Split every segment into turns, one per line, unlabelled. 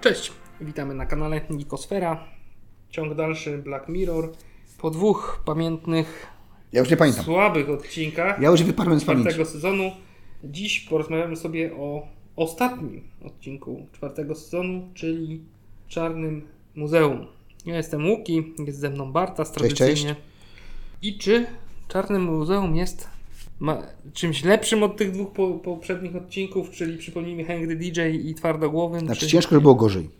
Cześć, witamy na kanale Nikosfera. Ciąg dalszy Black Mirror. Po dwóch pamiętnych,
Ja już nie pamiętam.
słabych odcinkach
Ja już wyparłem z pamięci.
czwartego sezonu dziś porozmawiamy sobie o ostatnim odcinku czwartego sezonu, czyli Czarnym Muzeum. Ja jestem Łuki, jest ze mną Bartas
Cześć,
tradycyjnie. I czy Czarne Muzeum jest ma, czymś lepszym od tych dwóch po, poprzednich odcinków, czyli przypomnijmy Henry DJ i Twardogłowym?
Znaczy
czy...
ciężko, żeby było gorzej.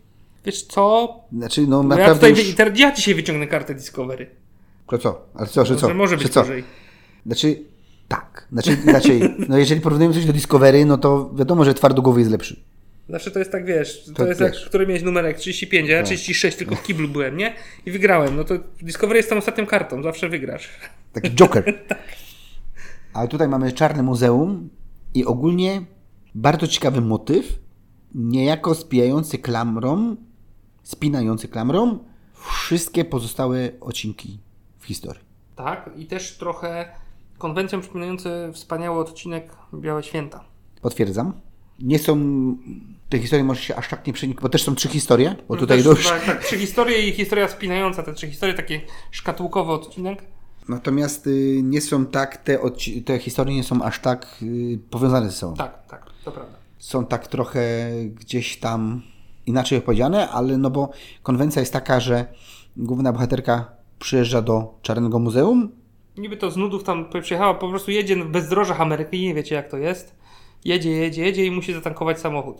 Wiesz co,
Znaczy, no
no ja
naprawdę
tutaj
już...
wy- teraz ja dzisiaj wyciągnę kartę Discovery. No,
To co? Ale co, że co?
Że może być
że co?
gorzej.
Znaczy, tak. Znaczy, inaczej. No jeżeli porównujemy coś do Discovery, no to wiadomo, że twardogłowy jest lepszy.
Zawsze to jest tak, wiesz, to,
To No.
jest jak,
wiesz.
który miałeś numerek 35, ja 36, tylko w kiblu byłem, nie? I wygrałem. No to Discovery jest tą ostatnią kartą, zawsze wygrasz.
Taki Joker. Tak. Ale tutaj mamy Czarne Muzeum i ogólnie bardzo ciekawy motyw, niejako spijający klamrą, spinający klamrą wszystkie pozostałe odcinki w historii.
Tak, i też trochę konwencją przypominający wspaniały odcinek Białe Święta.
Potwierdzam. Nie są. Te historie może się aż tak nie przenikły, bo też są trzy historie, bo tutaj
też,
dość.
Tak, tak, trzy historie i historia spinająca, te trzy historie, taki szkatułkowy odcinek.
Natomiast y, nie są tak, te, odci- te historie nie są aż tak y, powiązane ze sobą.
Tak, tak, to prawda.
Są tak trochę gdzieś tam inaczej opowiedziane, ale no bo konwencja jest taka, że główna bohaterka przyjeżdża do Czarnego Muzeum.
Niby to z nudów tam przyjechała, po prostu jedzie w bezdrożach Ameryki, nie wiecie jak to jest. Jedzie, jedzie, jedzie i musi zatankować samochód.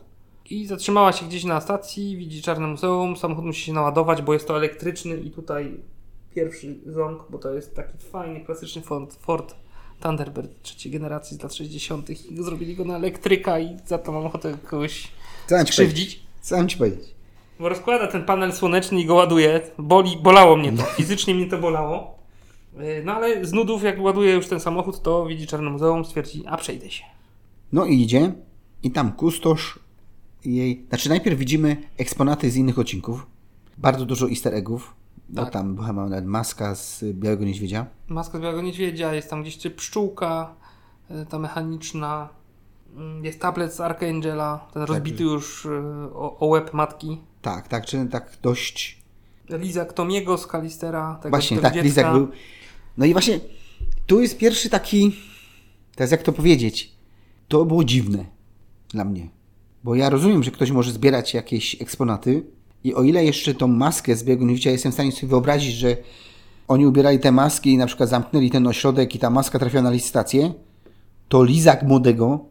I zatrzymała się gdzieś na stacji, widzi czarne muzeum, samochód musi się naładować, bo jest to elektryczny i tutaj pierwszy ząg, bo to jest taki fajny, klasyczny Ford, Ford Thunderbird trzeciej generacji z lat 60. i zrobili go na elektryka i za to mam ochotę kogoś
Co mam ci powiedzieć?
krzywdzić.
Co mam ci powiedzieć?
Bo rozkłada ten panel słoneczny i go ładuje. Boli, bolało mnie to.
No.
Fizycznie mnie to bolało. Yy, No ale z nudów, jak ładuje już ten samochód, to widzi Czarne Muzeum, stwierdzi, a przejdę się.
No i idzie i tam kustosz jej... Znaczy najpierw widzimy eksponaty z innych odcinków. Bardzo dużo easter eggów. No
Tak.
tam była nawet maska z Białego Niedźwiedzia.
Maska z Białego Niedźwiedzia, jest tam gdzieś czy pszczółka, yy, ta mechaniczna. Yy, Jest tablet z Archangela, ten rozbity już yy, o, o łeb matki.
Tak, tak, czy tak dość...
Lizak Tomiego z Kalistera. Tego
Właśnie,
tego
tak,
dziecka.
Lizak był... No i właśnie tu jest pierwszy taki... Teraz jak to powiedzieć? To było dziwne dla mnie. Bo ja rozumiem, że ktoś może zbierać jakieś eksponaty i o ile jeszcze tą maskę z Białego Niedźwiedzia jestem w stanie sobie wyobrazić, że oni ubierali te maski i na przykład zamknęli ten ośrodek i ta maska trafiła na licytację, to Lizak młodego,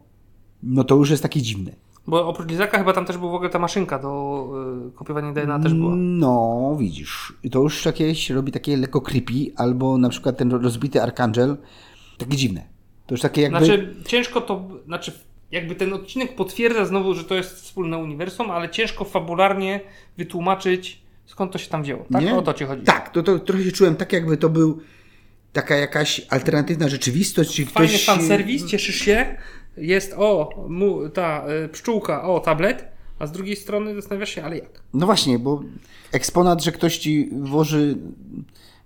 no to już jest takie dziwne.
Bo oprócz Lizaka chyba tam też była w ogóle ta maszynka do yy, kopiowania DNA też była.
No, widzisz. I To już jakieś robi takie lekko creepy, albo na przykład ten rozbity Archangel. Takie dziwne. To już takie jakby...
Znaczy, ciężko to. Znaczy, jakby ten odcinek potwierdza znowu, że to jest wspólne uniwersum, ale ciężko fabularnie wytłumaczyć, skąd to się tam wzięło. Tak?
nie?
O to ci chodzi.
Tak, to, to trochę się czułem tak, jakby to był taka jakaś alternatywna rzeczywistość, czy
Fajny
ktoś...
fanserwis, cieszysz się. Jest o, mu, ta y, pszczółka, o, tablet, a z drugiej strony zastanawiasz się, ale jak?
No właśnie, bo eksponat, że ktoś ci włoży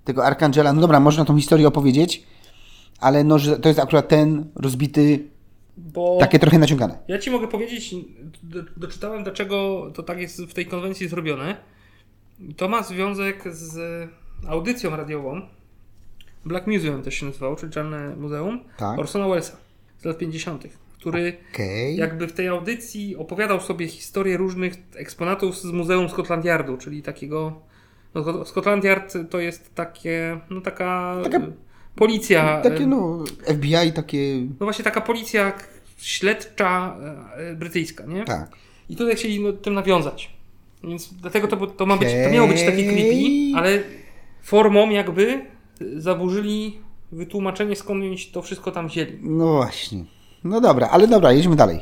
tego Archangela, no dobra, można tą historię opowiedzieć, ale no, że to jest akurat ten rozbity,
Bo
takie trochę naciągane.
ja ci mogę powiedzieć, do, doczytałem, dlaczego to tak jest w tej konwencji zrobione. To ma związek z audycją radiową. Black Museum też się nazywało, czyli Czarne Muzeum.
Tak.
Orsona Wellesa z lat 50., który
Okej.
jakby w tej audycji opowiadał sobie historię różnych eksponatów z Muzeum Scotland Yardu, czyli takiego. No, Scot- Scotland Yard to jest takie, no taka,
Taka-
e, policja. e,
Takie no, FBI, takie...
no właśnie taka policja k- śledcza e, brytyjska, nie?
Tak.
I tutaj chcieli no, tym nawiązać. Więc dlatego to, bu- to, ma być, to
Okej.
miało być takie creepy, ale formą jakby zaburzyli wytłumaczenie skąd oni to wszystko tam wzięli.
No właśnie. No dobra, ale dobra, jedźmy dalej.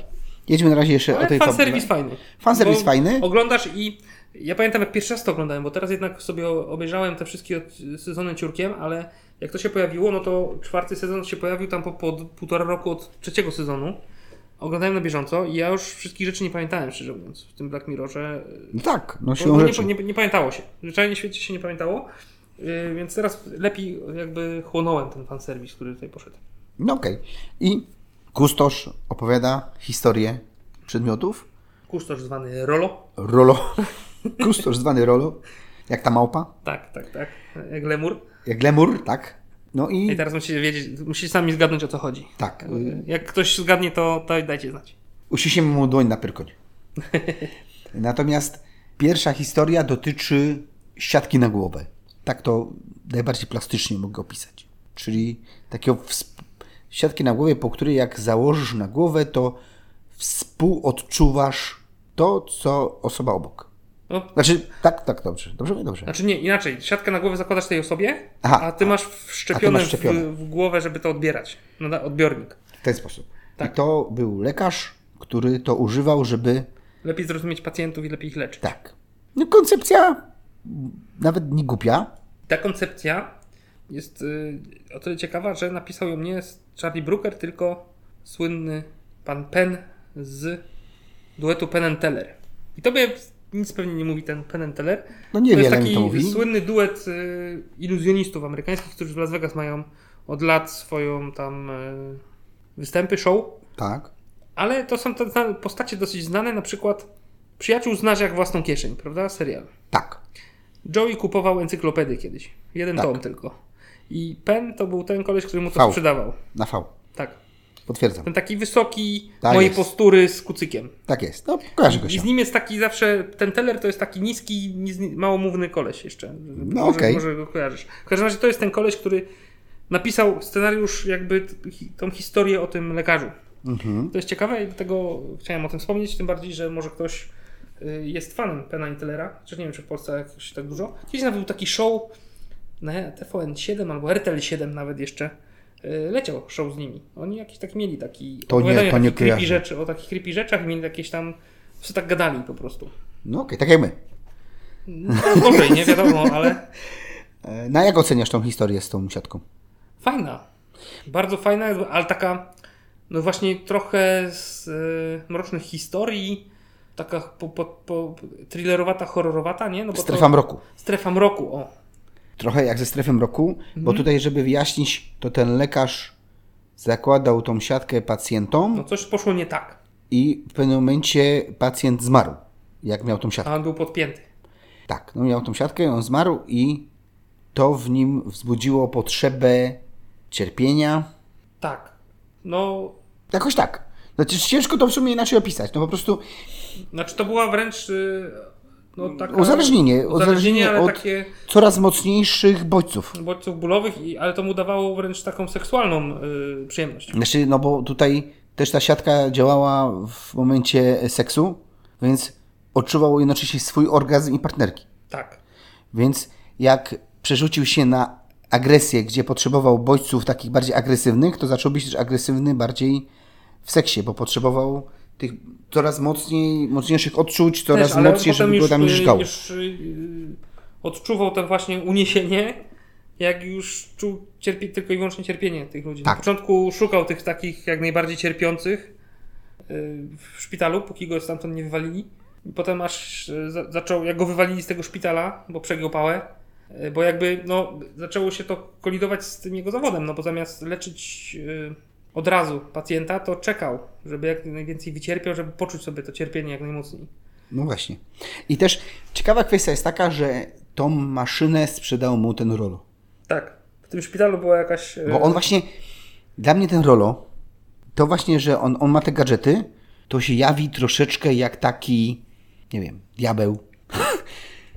Jedźmy na razie jeszcze o
Ale
tej
fanserwis fajny.
Fanserwis
Bo
fajny.
Oglądasz i ja pamiętam jak pierwszy raz to oglądałem, bo teraz jednak sobie o- obejrzałem te wszystkie od- sezony ciurkiem, ale jak to się pojawiło, no to czwarty sezon się pojawił tam po, po półtora roku od trzeciego sezonu. Oglądałem na bieżąco i ja już wszystkich rzeczy nie pamiętałem, szczerze mówiąc, w tym Black Mirrorze.
No tak, no
Bo
siłą
nie,
rzeczy.
nie, nie pamiętało się. Zwyczajnie w świecie się nie pamiętało. Yy, więc teraz lepiej jakby chłonąłem ten fanserwis, który tutaj poszedł.
No okej. I kustosz opowiada historię przedmiotów.
Kusztosz zwany Rolo.
Rolo. kustosz zwany Rolo. Jak ta małpa.
Tak, tak, tak. Jak lemur.
Jak lemur, tak? No i...
I teraz musicie wiedzieć, musicie sami zgadnąć o co chodzi.
Tak. y,
Jak ktoś zgadnie, to, to dajcie znać.
Uściśniemy mu dłoń na pyrkoń. Natomiast pierwsza historia dotyczy siatki na głowę. Tak to najbardziej plastycznie mogę opisać. Czyli takiego wsp- siatki na głowie, po której jak założysz na głowę, to współodczuwasz to, co osoba obok.
No,
Znaczy, tak, tak, dobrze. Dobrze, mówię, dobrze.
znaczy nie, inaczej. Siatkę na głowę zakładasz tej osobie,
Aha.
a ty masz
A
wszczepione
ty masz wszczepione.
w, w głowę, żeby to odbierać. No, na odbiornik.
W ten sposób.
Tak.
I to był lekarz, który to używał, żeby
Lepiej zrozumieć pacjentów i lepiej ich leczyć.
Tak. No koncepcja nawet nie głupia.
Ta koncepcja jest y, o tyle ciekawa, że napisał ją nie Charlie Brooker, tylko słynny pan Penn z duetu Penn and Teller. I tobie nic pewnie nie mówi ten Penn and Teller.
No niewiele
to jest taki
mi to mówi.
słynny duet y, iluzjonistów amerykańskich, którzy w Las Vegas mają od lat swoją tam y, występy, show.
Tak.
Ale to są te znane- postacie dosyć znane, na przykład Przyjaciół znasz jak własną kieszeń, prawda? Serial.
Tak.
Joey kupował encyklopedię kiedyś. Jeden
Tak.
tom tylko. I Pen to był ten koleś, który mu to
Fał.
sprzedawał.
Na V.
Tak.
Potwierdzam.
Ten taki wysoki,
Tak
mojej
jest.
postury z kucykiem.
Tak jest. No, kojarzy go
I
się.
z nim jest taki zawsze, ten teller to jest taki niski, niz- małomówny koleś jeszcze.
No,
może,
okej.
może go kojarzysz. W każdym razie to jest ten koleś, który napisał scenariusz, jakby t- hi- tą historię o tym lekarzu.
Mhm.
To jest ciekawe i dlatego chciałem o tym wspomnieć, tym bardziej, że może ktoś y, jest fanem Pena i Tellera, chociaż nie wiem, czy w Polsce jakoś tak dużo. Kiedyś nawet był taki show na TVN7 albo RTL7 nawet jeszcze. y, Leciał show z nimi. Oni jakiś tak mieli taki
To nie,
opowiadali o
to nie
takich creepy
kojarzę.
rzeczy, o takich creepy rzeczach i mieli jakieś tam wszyscy tak gadali po prostu.
No okej, tak jak my.
No, gorzej, nie wiadomo, ale
E, Na jak oceniasz tą historię z tą siatką?
fajna. Bardzo fajna, ale taka no właśnie trochę z y, mrocznych historii, taka po, po, po, thrillerowata, horrorowata, nie? No bo
Strefa
to,
mroku.
strefa mroku, o.
Trochę jak ze strefą mroku, bo
Mhm.
tutaj, żeby wyjaśnić, to ten lekarz zakładał tą siatkę
No
pacjentom
coś poszło nie tak,
i w pewnym momencie pacjent zmarł, jak miał tą siatkę.
a on był podpięty.
Tak, no miał tą siatkę, on zmarł i to w nim wzbudziło potrzebę cierpienia.
Tak. No,
Jakoś tak. Znaczy ciężko to w sumie inaczej opisać. No po prostu
znaczy to była wręcz y, no, taka,
uzależnienie.
uzależnienie,
Uzależnienie
ale
od
takie
coraz mocniejszych bodźców.
bodźców bólowych, i, ale to mu dawało wręcz taką seksualną y, przyjemność.
Znaczy, no bo tutaj też ta siatka działała w momencie seksu, więc odczuwał jednocześnie swój orgazm i partnerki.
Tak.
Więc jak przerzucił się na agresję, gdzie potrzebował bodźców takich bardziej agresywnych, to zaczął być też agresywny bardziej w seksie, bo potrzebował tych coraz mocniej, mocniejszych odczuć, coraz
ale on
mocniej,
potem
żeby go tam
y,
niżgało.
już, y, odczuwał to właśnie uniesienie, jak już czuł cierpie, tylko i wyłącznie cierpienie tych ludzi.
Tak.
Na początku szukał tych takich jak najbardziej cierpiących y, w szpitalu, póki go stamtąd nie wywalili. I potem aż y, za, zaczął, jak go wywalili z tego szpitala, bo przegiął pałę, y, bo jakby no, zaczęło się to kolidować z tym jego zawodem, no bo zamiast leczyć y, od razu pacjenta, to czekał, żeby jak najwięcej wycierpiał, żeby poczuć sobie to cierpienie jak najmocniej.
No właśnie. I też ciekawa kwestia jest taka, że tą maszynę sprzedał mu ten Rolo.
Tak. W tym szpitalu była jakaś. e,
Bo on właśnie, dla mnie ten Rolo, to właśnie, że on, on ma te gadżety, to się jawi troszeczkę jak taki, nie wiem, diabeł.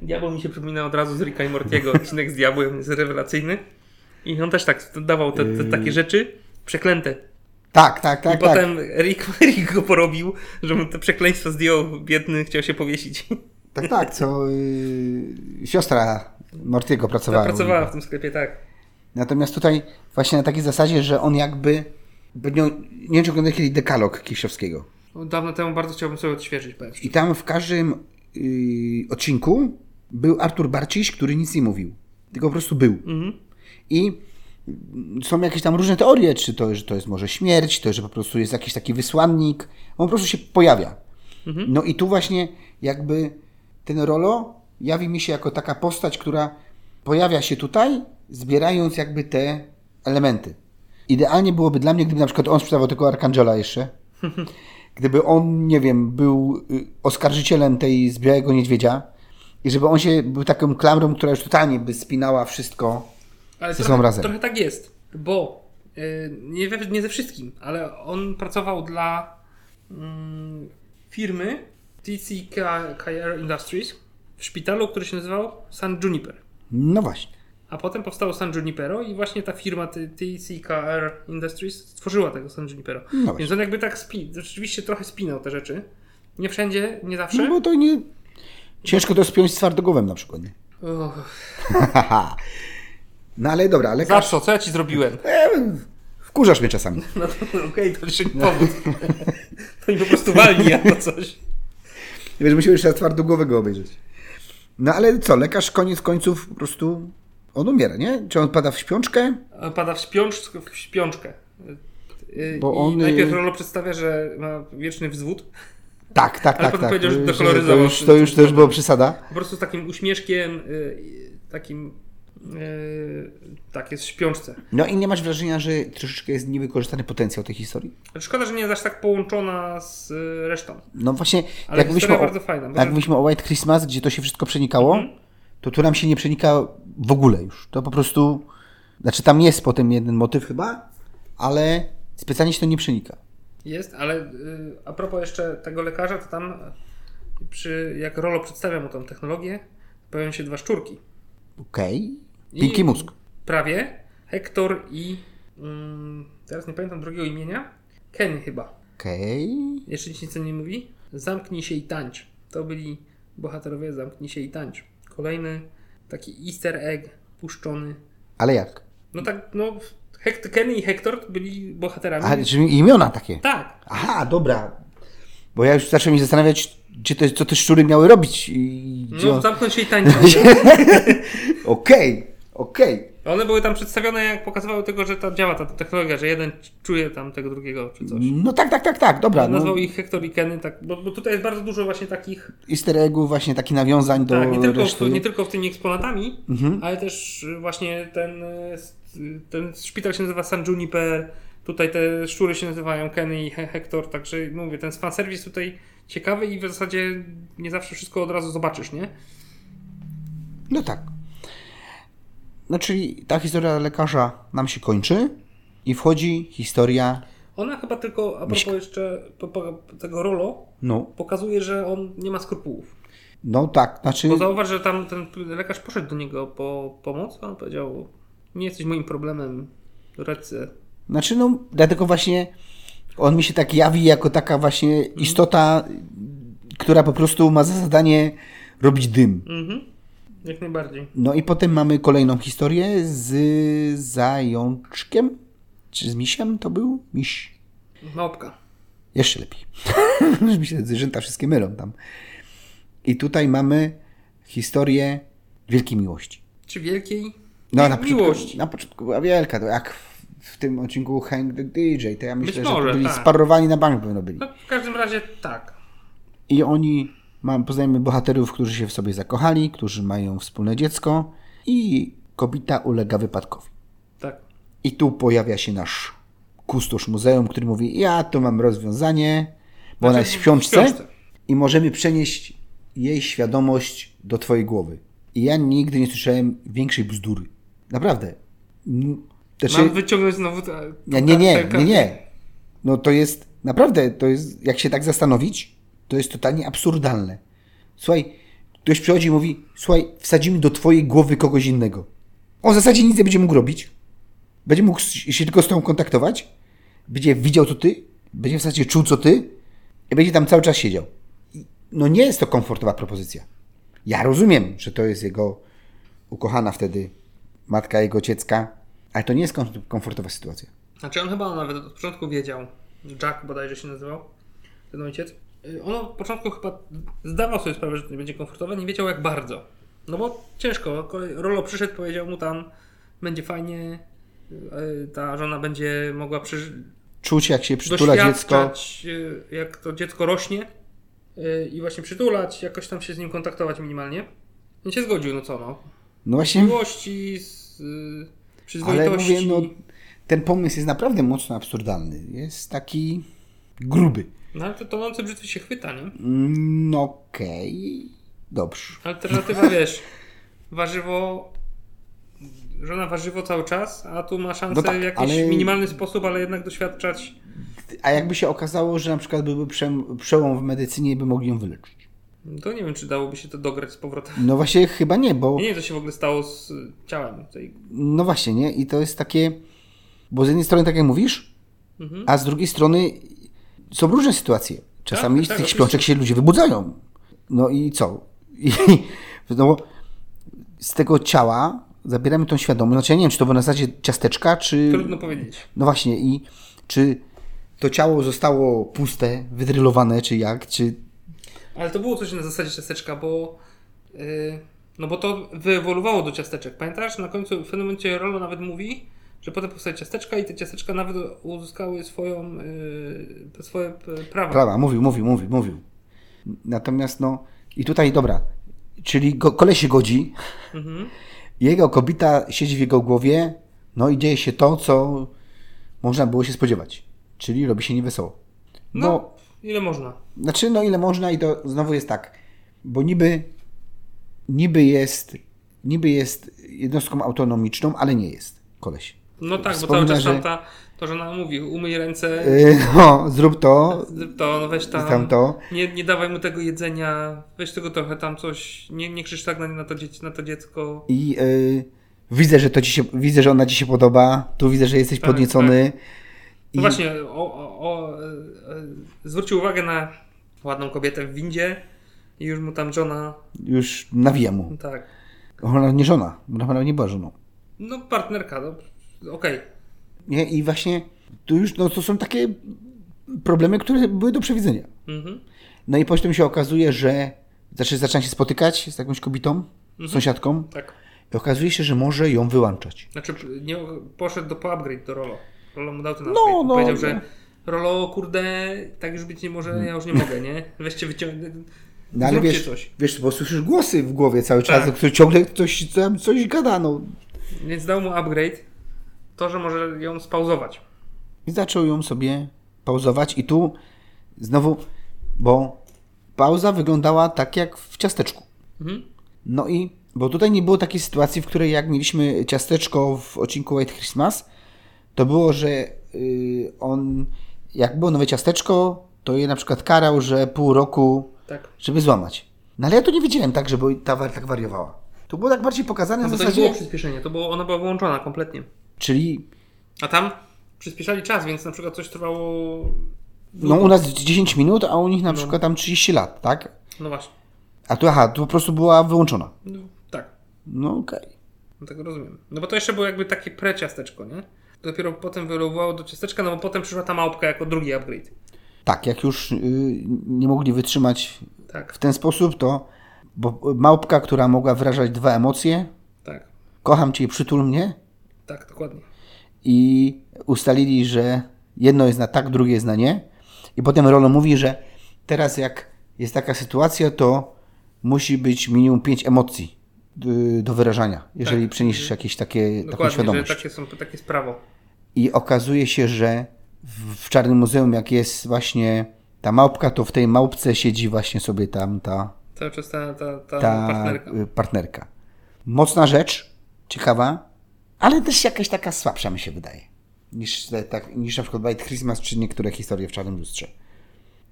Diabeł mi się przypomina od razu z Ricka i Mortiego. Odcinek z diabłem jest rewelacyjny. I on też tak dawał te, te takie rzeczy przeklęte.
Tak, Yy. tak,
I
tak, tak.
potem Rick, Rick go porobił, że mu te przekleństwo zdjął, biedny, chciał się powiesić.
Tak, tak, co y, siostra Mortiego pracowała.
Pracowała w tym sklepie, tak.
Natomiast tutaj właśnie na takiej zasadzie, że on jakby... bo Nie, nie wiem, czy oglądałeś kiedyś dekalog Kisiowskiego.
No, Dawno temu bardzo chciałbym sobie odświeżyć, powiem ci.
I tam w każdym y, odcinku był Artur Barciś, który nic nie mówił. Tylko po prostu był.
Mhm.
I mm, są jakieś tam różne teorie, czy to, że to jest może śmierć, to, że po prostu jest jakiś taki wysłannik. On po prostu się pojawia. No i tu właśnie jakby ten Rolo jawi mi się jako taka postać, która pojawia się tutaj, zbierając jakby te elementy. Idealnie byłoby dla mnie, gdyby na przykład on sprzedawał tego Arkangela jeszcze. Gdyby on, nie wiem, był y, oskarżycielem tej z Białego Niedźwiedzia i żeby on się był taką klamrą, która już totalnie by spinała wszystko.
Ale
Ze
trochę,
sobą razem.
trochę tak jest, bo y, nie, we, nie ze wszystkim, ale on pracował dla mm, firmy TC KR Industries w szpitalu, który się nazywał San Juniper.
No właśnie.
A potem powstało San Junipero i właśnie ta firma T- TCKR Industries stworzyła tego San Junipero.
No
Więc
właśnie.
on jakby tak spi- rzeczywiście trochę spinał te rzeczy. Nie wszędzie, nie zawsze.
No bo to nie... Ciężko to spiąć z twardogłowem na przykład. nie?
Och,
No ale dobra, ale
za co? Co ja ci zrobiłem?
wkurzasz mnie czasami.
No to okej, to jeszcze nie powód. To mi po prostu walni albo coś.
Wiesz, musimy jeszcze raz twardogłowego obejrzeć. No ale co, lekarz koniec końców po prostu on umiera, nie? Czy on pada w śpiączkę?
Pada w, śpiącz, w śpiączkę. Yy,
Bo
I
on,
najpierw
yy,
Rolo przedstawia, że ma wieczny wzwód.
Tak, tak,
Ale
tak.
potem
tak.
powiedział, że
To już-
dekoloryzował
To już, to
wszystko.
już też była przesada.
Po prostu z takim uśmieszkiem, yy, takim... Yy, tak, jest w śpiączce.
No i nie masz wrażenia, że troszeczkę jest niewykorzystany potencjał tej historii?
Szkoda, że nie jest aż tak połączona z y, resztą.
No właśnie,
Ale
jak
historia
mówiliśmy, o,
bardzo fajna, bo Mhm.
jak
tam-
mówiliśmy o White Christmas, gdzie to się wszystko przenikało, to tu nam się nie przenika w ogóle już. To po prostu, znaczy tam jest potem jeden motyw chyba, ale specjalnie się to nie przenika.
Jest, ale y, a propos jeszcze tego lekarza, to tam y, przy, jak Rolo przedstawia mu tą technologię, pojawią się dwa szczurki.
Okej,
I-
piękny mózg.
Prawie. Hektor i mm, teraz nie pamiętam drugiego imienia. Ken chyba.
Okej,
Jeszcze nic o nie mówi. Zamknij się i tańcz. To byli bohaterowie Zamknij się i tańcz. Kolejny taki easter egg puszczony.
ale jak?
No tak, no Hekt, Ken i Hektor byli bohaterami.
A, czyli imiona takie.
Tak,
Aha, dobra. Bo ja już zacząłem się zastanawiać, gdzie te, co te szczury miały robić. i Gdzie
No,
on...
zamknąć się i tańczyć.
Okej, okej.
One były tam przedstawione, jak pokazywały tego, że tam działa ta technologia, że jeden czuje tam tego drugiego czy coś.
No tak, tak, tak, tak, dobra. No,
Nazwał ich Hektor i Kenny, tak, bo, bo tutaj jest bardzo dużo właśnie takich,
easter eggów, właśnie takich nawiązań do
tak, nie tylko, w,
reszty. Mhm.
nie tylko w tymi eksponatami, ale też y, właśnie ten, y, s- y, ten szpital się nazywa San Juniper, tutaj te szczury się nazywają Kenny i He- Hektor, także mówię, ten fanserwis tutaj ciekawy i w zasadzie nie zawsze wszystko od razu zobaczysz, nie?
No tak. No czyli ta historia lekarza nam się kończy i wchodzi historia,
Ona chyba tylko, a propos
Miśka.
jeszcze po, po, tego Rolo,
no,
pokazuje, że on nie ma skrupułów.
no tak, znaczy,
Bo zauważ, że tam ten lekarz poszedł do niego po pomoc, a on powiedział, nie jesteś moim problemem, radcę.
znaczy no, dlatego właśnie on mi się tak jawi jako taka właśnie istota, która po prostu ma za zadanie robić dym.
Mhm. Jak najbardziej.
No i potem mamy kolejną historię z zajączkiem, czy z misiem to był? Miś.
Małpka.
Jeszcze lepiej. Już mi się zwierzęta wszystkie mylą tam. I tutaj mamy historię wielkiej miłości.
Czy wielkiej?
No,
Miłości.
Na początku była wielka, to jak w, w tym odcinku Hang the DJ, to ja myślę, że
może,
to byli
tak.
sparowani na bank pewno byli.
No w każdym razie tak.
I oni, mam, poznajemy bohaterów, którzy się w sobie zakochali, którzy mają wspólne dziecko i kobieta ulega wypadkowi.
Tak.
I tu pojawia się nasz kustosz muzeum, który mówi, ja tu mam rozwiązanie, bo ona
Znaczy,
jest w książce, i możemy przenieść jej świadomość do twojej głowy. I ja nigdy nie słyszałem większej bzdury. Naprawdę. N- Znaczy,
Mam wyciągnąć znowu te,
nie, nie, nie,
te-
nie, nie. No to jest, naprawdę, to jest, jak się tak zastanowić, to jest totalnie absurdalne. Słuchaj, ktoś przychodzi i mówi, słuchaj, wsadzimy do twojej głowy kogoś innego. On w zasadzie nic nie będzie mógł robić. Będzie mógł s- się tylko z tą kontaktować. Będzie widział co ty, będzie w zasadzie czuł co ty i będzie tam cały czas siedział. I- No nie jest to komfortowa propozycja. Ja rozumiem, że to jest jego ukochana wtedy matka jego dziecka, ale to nie jest kom- komfortowa sytuacja.
Znaczy on chyba nawet od początku wiedział, Jack bodajże się nazywał, ten ojciec. Y, On od początku chyba zdawał sobie sprawę, że to nie będzie komfortowe, nie wiedział jak bardzo. No bo ciężko, kolej- Rolo przyszedł, powiedział mu tam, będzie fajnie, y, ta żona będzie mogła przeżyć,
czuć, jak się przytula dziecko.
doświadczać, y, jak to dziecko rośnie y, i właśnie przytulać, jakoś tam się z nim kontaktować minimalnie. Nie się zgodził, no co no.
No właśnie,
miłości, z y,
ale
przyzwoitości.
mówię, no, ten pomysł jest naprawdę mocno absurdalny. Jest taki gruby.
No ale to tonące brzytwy się chwyta, nie?
Mm, No okej, dobrze.
Alternatywa, wiesz, warzywo, żona warzywo cały czas, a tu ma szansę
No tak,
w jakiś
ale-
minimalny sposób, ale jednak doświadczać.
A jakby się okazało, że na przykład byłby przem- przełom w medycynie i by mogli ją wyleczyć?
To nie wiem, czy dałoby się to dograć z powrotem.
No właśnie, chyba nie, bo
Ja nie wiem, co się w ogóle stało z y, ciałem tej...
no właśnie, nie? I to jest takie, bo z jednej strony tak jak mówisz,
Mhm.
a z drugiej strony są różne sytuacje. Czasami
Tak,
z
tak,
tych
oczywiście.
śpiączek się ludzie wybudzają. No i co? I, no, bo z tego ciała zabieramy tą świadomość. Znaczy ja nie wiem, czy to było na zasadzie ciasteczka, czy...
Trudno powiedzieć.
No właśnie, i czy to ciało zostało puste, wydrylowane, czy jak, czy...
Ale to było coś na zasadzie ciasteczka, bo. y, no bo to wyewoluowało do ciasteczek. Pamiętasz? Na końcu w pewnym momencie Rolo nawet mówi, że potem powstały ciasteczka i te ciasteczka nawet uzyskały swoją, y, swoje p- prawa.
Prawa, mówił, mówił, mówił, mówił. Natomiast no, i tutaj, dobra, czyli go, koleś się godzi,
Mhm.
jego kobieta siedzi w jego głowie, no i dzieje się to, co można było się spodziewać, czyli robi się niewesoło.
No,
No,
ile można.
Znaczy, no ile można i to znowu jest tak, bo niby, niby jest, niby jest jednostką autonomiczną, ale nie jest, koleś.
No tak, bo
Wspomnę,
cały czas
że-
tamta, to żona mówi, umyj ręce,
Yy, no, zrób to,
zrób to, no weź tam.
tamto.
Nie, nie dawaj mu tego jedzenia, weź tego trochę tam coś, nie, nie krzycz tak na, na, to, dzieci, na to dziecko.
i y, widzę, że to ci się, widzę, że ona ci się podoba, tu widzę, że jesteś
Tak,
podniecony. I,
No właśnie, o, o, o, e, e, zwrócił uwagę na ładną kobietę w windzie i już mu tam żona,
Już nawija mu.
tak,
Ona nie żona, bo na pewno nie była żoną.
no partnerka, no okej.
Nie? I właśnie tu już no, to są takie problemy, które były do przewidzenia.
Mhm.
No i potem się okazuje, że znaczy, zaczyna się spotykać z jakąś kobietą, sąsiadką
Tak,
i okazuje się, że może ją wyłączać.
znaczy nie, poszedł do po upgrade do Rolo. Rolo mu dał ten
No,
upgrade,
no,
powiedział,
no.
że Rolo, kurde, tak już być nie może, ja już nie mogę, nie? Weźcie wyciągnę,
No ale
zróbcie
wiesz,
coś.
wiesz, bo słyszysz głosy w głowie cały czas,
Tak.
które ciągle ktoś tam coś gada, no.
Więc dał mu upgrade, to, że może ją spauzować.
I zaczął ją sobie pauzować i tu znowu, bo pauza wyglądała tak jak w ciasteczku.
Mhm.
No i, bo tutaj nie było takiej sytuacji, w której jak mieliśmy ciasteczko w odcinku White Christmas, to było, że y, on, jak było nowe ciasteczko, to je na przykład karał, że pół roku,
Tak.
żeby złamać. No ale ja to nie wiedziałem tak, żeby ta war tak wariowała. To było tak bardziej pokazane
No
w
bo to nie
zasadzie,
było przyspieszenie, to było, ona była wyłączona kompletnie.
czyli
A tam przyspieszali czas, więc na przykład coś trwało.
no u nas 10 minut, a u nich na przykład tam 30 lat, tak?
No właśnie.
A tu, aha, tu po prostu była wyłączona.
No, tak,
No okej.
no tak rozumiem. No bo to jeszcze było jakby takie pre-ciasteczko, nie? Dopiero potem wylewowało do ciasteczka, no bo potem przyszła ta małpka jako drugi upgrade.
Tak, jak już y, nie mogli wytrzymać
Tak,
w ten sposób, to bo małpka, która mogła wyrażać dwa emocje,
tak,
kocham cię i przytul mnie,
tak, dokładnie.
i ustalili, że jedno jest na tak, drugie jest na nie. I potem Rolo mówi, że teraz jak jest taka sytuacja, to musi być minimum pięć emocji y, do wyrażania, jeżeli
Tak.
przeniesiesz jakieś takie, taką
Dokładnie, że tak
świadomość.
takie, są, takie jest prawo.
I okazuje się, że w, w Czarnym Muzeum, jak jest właśnie ta małpka, to w tej małpce siedzi właśnie sobie tam ta,
Cały czas ta, ta, ta,
ta
partnerka.
y, partnerka. Mocna rzecz, ciekawa, ale też jakaś taka słabsza mi się wydaje. Niż, te- tak, niż na przykład White Christmas, czy niektóre historie w Czarnym Lustrze.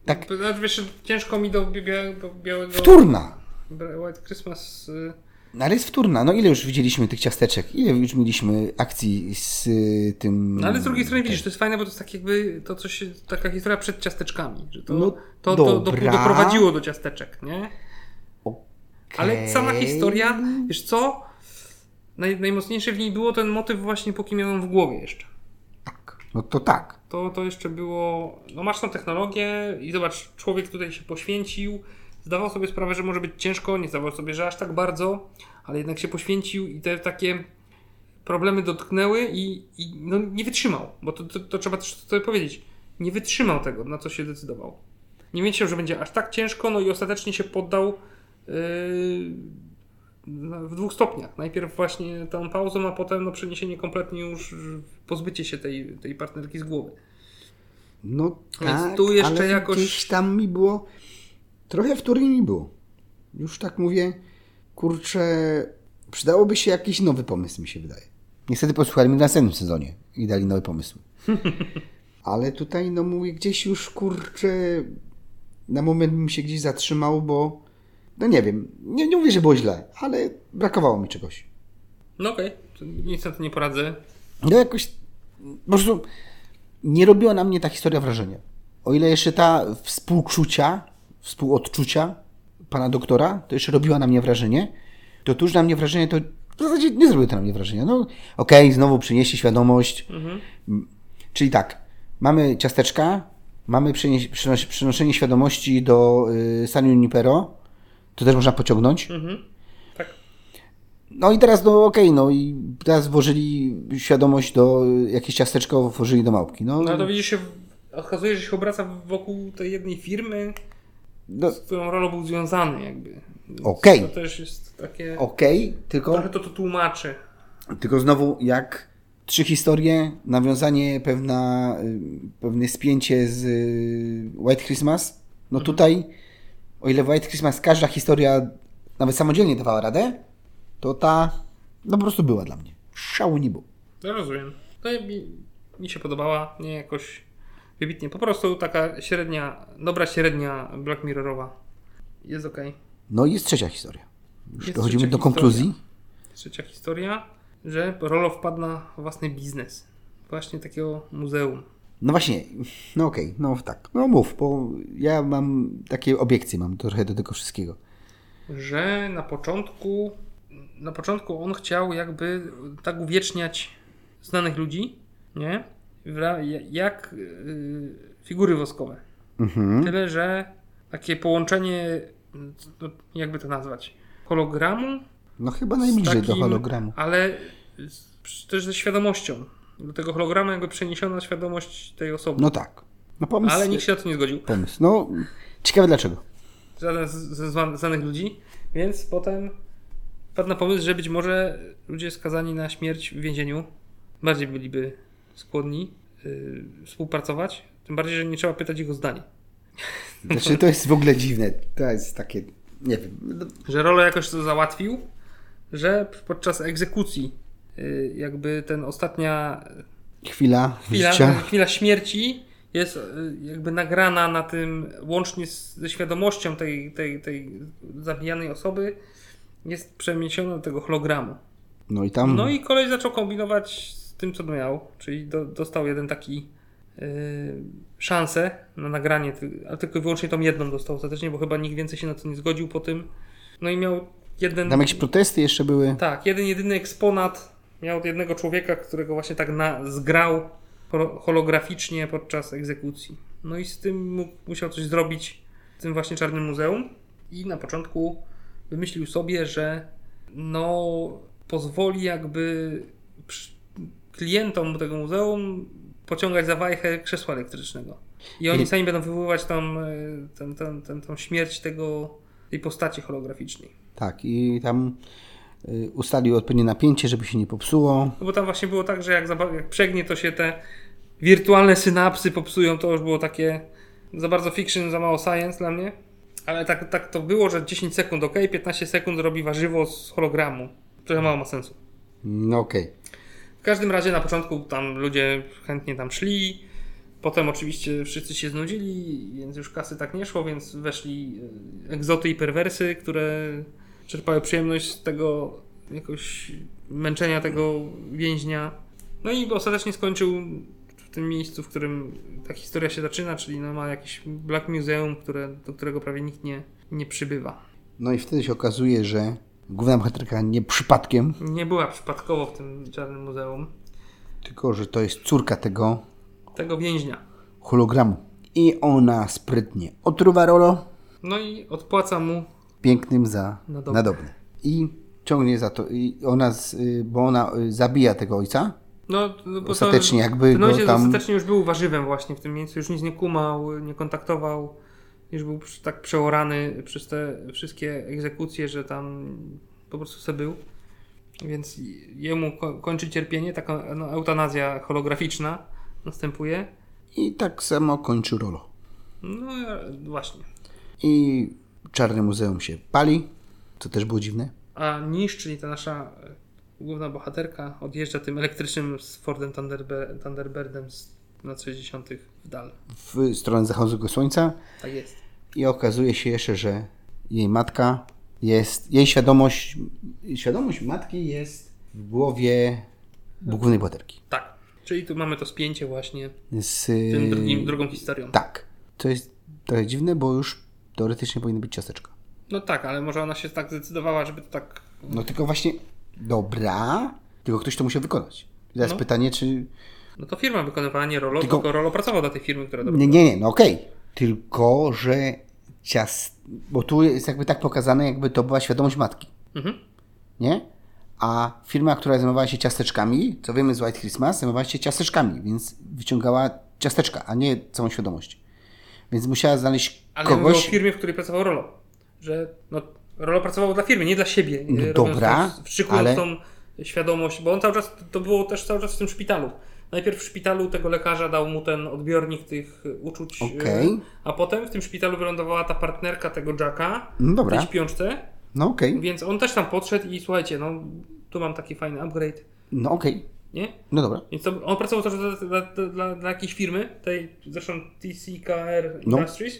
tak.
To Znaczy, wiesz, ciężko mi do bia- do białego.
Wtórna!
Bra- White Christmas. y,
No ale jest wtórna. No ile już widzieliśmy tych ciasteczek? Ile już mieliśmy akcji z y, tym...
No ale z drugiej strony widzisz, to jest fajne, bo to jest tak jakby to coś, taka historia przed ciasteczkami, że to,
No
to, to do,
dobra.
doprowadziło do ciasteczek, nie? Ale
Okej.
sama historia, wiesz co? Naj, najmocniejsze w niej było ten motyw właśnie póki miałem w głowie jeszcze.
Tak. No to tak.
To, to jeszcze było, no masz tą technologię i zobacz, człowiek tutaj się poświęcił, zdawał sobie sprawę, że może być ciężko, nie zdawał sobie, że aż tak bardzo, ale jednak się poświęcił i te takie problemy dotknęły i, i no, nie wytrzymał, bo to, to, to trzeba też sobie powiedzieć, nie wytrzymał tego, na co się decydował. Nie wiedział, że będzie aż tak ciężko, no i ostatecznie się poddał yy, na- w dwóch stopniach. Najpierw właśnie tą pauzą, a potem no, przeniesienie kompletnie już y, pozbycie się tej, tej partnerki z głowy.
No
Więc
tak,
tu jeszcze
ale
jakoś-
gdzieś tam mi było, trochę wtórnie mi było. Już tak mówię, kurczę, przydałoby się jakiś nowy pomysł, mi się wydaje. Niestety posłuchali mnie w następnym sezonie i dali nowe pomysły. Ale tutaj, no mówię, gdzieś już, kurczę, na moment bym się gdzieś zatrzymał, bo, no nie wiem, nie, nie mówię, że było źle, ale brakowało mi czegoś.
No okej, to nic na to nie poradzę.
No jakoś, po prostu nie robiła na mnie ta historia wrażenia. O ile jeszcze ta współczucia, współodczucia pana doktora, to jeszcze robiła na mnie wrażenie, to tuż na mnie wrażenie, to w zasadzie nie zrobiło to na mnie wrażenia. No okej, znowu przyniesie świadomość. M, Czyli tak, mamy ciasteczka, mamy przynieś, przynos, przynoszenie świadomości do y, San Junipero, to też można pociągnąć. No i teraz, no okej, no i teraz włożyli świadomość do, jakieś ciasteczko włożyli do małpki. No,
No ale to widzisz się, okazuje, że się obraca wokół tej jednej firmy,
no
z którą Rolo był związany jakby. Więc
Okej.
To też jest takie...
okej, tylko,
Trochę to to tłumaczy.
tylko znowu jak trzy historie, nawiązanie pewna, y, pewne spięcie z y, White Christmas,
Mhm.
no tutaj, o ile w White Christmas każda historia nawet samodzielnie dawała radę, to ta, no po prostu była dla mnie. Szału nie było.
No rozumiem. No i mi, mi się podobała, nie jakoś wybitnie. Po prostu taka średnia, dobra średnia Black Mirrorowa. Jest okej.
No i jest trzecia historia. Już
Jest
dochodzimy
trzecia
do konkluzji.
historia. Trzecia historia, że Rolo wpadł na własny biznes. Właśnie takiego muzeum.
No właśnie, no okej, no tak. No mów, bo ja mam takie obiekcje, mam trochę do tego wszystkiego.
Że na początku, na początku on chciał jakby tak uwieczniać znanych ludzi, nie? W ra- Jak yy, figury woskowe.
Mhm.
Tyle, że takie połączenie, no, jakby to nazwać, hologramu,
No chyba
z
najbliżej do
takim-
hologramu.
ale z, też ze świadomością. Do tego hologramu jakby przeniesiona świadomość tej osoby.
No tak. No pomysł.
ale nikt się na to nie zgodził.
Pomysł. No ciekawe dlaczego.
Żaden z, ze zwa- znanych ludzi, więc potem padł na pomysł, że być może ludzie skazani na śmierć w więzieniu bardziej byliby skłonni yy, współpracować, tym bardziej, że nie trzeba pytać ich o zdanie.
Znaczy to jest w ogóle dziwne. To jest takie, nie wiem. no,
że Rolo jakoś to załatwił, że podczas egzekucji y, jakby ten ostatnia
Chwila,
chwila,
życia.
chwila śmierci jest y, jakby nagrana na tym łącznie z, ze świadomością tej, tej, tej zabijanej osoby jest przeniesiona do tego hologramu.
No i tam.
No i koleś zaczął kombinować z tym, co miał, czyli do, dostał jeden taki y, szansę na nagranie, ty- ale tylko i wyłącznie tą jedną dostał ostatecznie, bo chyba nikt więcej się na to nie zgodził po tym. No i miał jeden...
Tam jakieś protesty jeszcze były.
Tak, jeden jedyny eksponat miał od jednego człowieka, którego właśnie tak na, zgrał holo- holograficznie podczas egzekucji. No i z tym mógł, musiał coś zrobić w tym właśnie Czarnym Muzeum. I na początku wymyślił sobie, że no pozwoli jakby przy- klientom tego muzeum pociągać za wajchę krzesła elektrycznego. I oni
I-
sami będą wywoływać tam e, ten, ten, ten, tą śmierć tego, tej postaci holograficznej.
Tak, i tam y, ustalił odpowiednie napięcie, żeby się nie popsuło.
No bo tam właśnie było tak, że jak, zaba- jak przegnie, to się te wirtualne synapsy popsują. To już było takie za bardzo fiction, za mało science dla mnie. Ale tak, tak to było, że 10 sekund ok, 15 sekund robi warzywo z hologramu. Trochę mało ma sensu.
No okej.
W każdym razie na początku tam ludzie chętnie tam szli. Potem oczywiście wszyscy się znudzili, więc już kasy tak nie szło, więc weszli e, egzoty i perwersy, które czerpały przyjemność z tego jakoś męczenia tego więźnia. No i ostatecznie skończył w tym miejscu, w którym ta historia się zaczyna, czyli no ma jakieś Black Museum, które, do którego prawie nikt nie, nie przybywa.
No i wtedy się okazuje, że główna bohaterka nie przypadkiem
Nie była przypadkowo w tym czarnym muzeum
Tylko, że to jest córka tego
tego więźnia.
hologramu. I ona sprytnie otruwa Rolo
No i odpłaca mu
pięknym za
Nadobne.
nadobne. I ciągnie za to. I ona, z, y, bo ona y, zabija tego ojca.
No, no, bo
Ostatecznie
to,
jakby
ten
go
ojciec
tam-
ostatecznie już był warzywem właśnie w tym miejscu, już nic nie kumał, nie kontaktował, już był przy- tak przeorany przez te wszystkie egzekucje, że tam po prostu se był. Więc jemu ko- kończy cierpienie, taka no, eutanazja holograficzna następuje.
I tak samo kończy Rolo.
No e, właśnie.
I Czarne Muzeum się pali, co też było dziwne.
A Nisz, czyli ta nasza e, główna bohaterka, odjeżdża tym elektrycznym z Fordem Thunderbe- Thunderbirdem z lat 60. w dal.
W stronę zachodzącego słońca
Tak jest.
i okazuje się jeszcze, że jej matka jest, jej świadomość, świadomość matki jest w głowie głównej bohaterki.
Tak. Czyli tu mamy to spięcie właśnie
Z y,
tym drugim, drugą historią.
Yy, Tak. To jest trochę dziwne, bo już teoretycznie powinny być ciasteczka.
No tak, ale może ona się tak zdecydowała, żeby to tak...
No tylko właśnie, dobra, tylko ktoś to musiał wykonać. Teraz
No.
pytanie, czy...
No to firma wykonywała nie Rolo, tylko,
Tylko-
Rolo pracował dla tej firmy, która to
Nie, nie, nie, no okej. Tylko, że ciast... Bo tu jest jakby tak pokazane, jakby to była świadomość matki,
Mhm.
nie? A firma, która zajmowała się ciasteczkami, co wiemy z White Christmas, zajmowała się ciasteczkami, więc wyciągała ciasteczka, a nie całą świadomość. Więc musiała znaleźć
Ale Kogoś... mówię o
kogoś...
firmie, w której pracował Rolo. Że no, Rolo pracował dla firmy, nie dla siebie.
No
robiąc
dobra,
tą- Wszykując
ale-
tą świadomość, bo on cały czas, to było też cały czas w tym szpitalu. Najpierw w szpitalu tego lekarza dał mu ten odbiornik tych y, uczuć, y,
Okej.
a potem w tym szpitalu wylądowała ta partnerka tego Jacka,
No
w tej
dobra,
śpiączce,
no okej,
więc on też tam podszedł i słuchajcie, no tu mam taki fajny upgrade,
no okej,
nie?
no dobra.
Więc to, on pracował też dla, dla, dla, dla jakiejś firmy, tej zresztą TCKR
No.
Industries,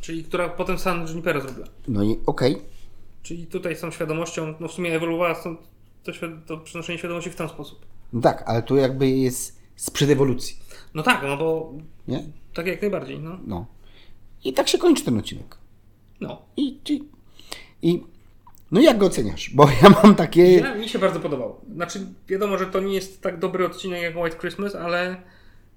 czyli która potem San Junipero zrobiła.
No i okej,
Czyli tutaj z tą świadomością, no w sumie ewoluowała stąd to, świ- to przenoszenie świadomości w ten sposób.
No tak, ale tu jakby jest sprzed ewolucji,
No tak, no bo
nie?
tak jak najbardziej, no.
No. I tak się kończy ten odcinek.
no.
I, i, i no jak go oceniasz? Bo ja mam takie...
Ja, mi się bardzo podobał. Znaczy, wiadomo, że to nie jest tak dobry odcinek jak White Christmas, ale,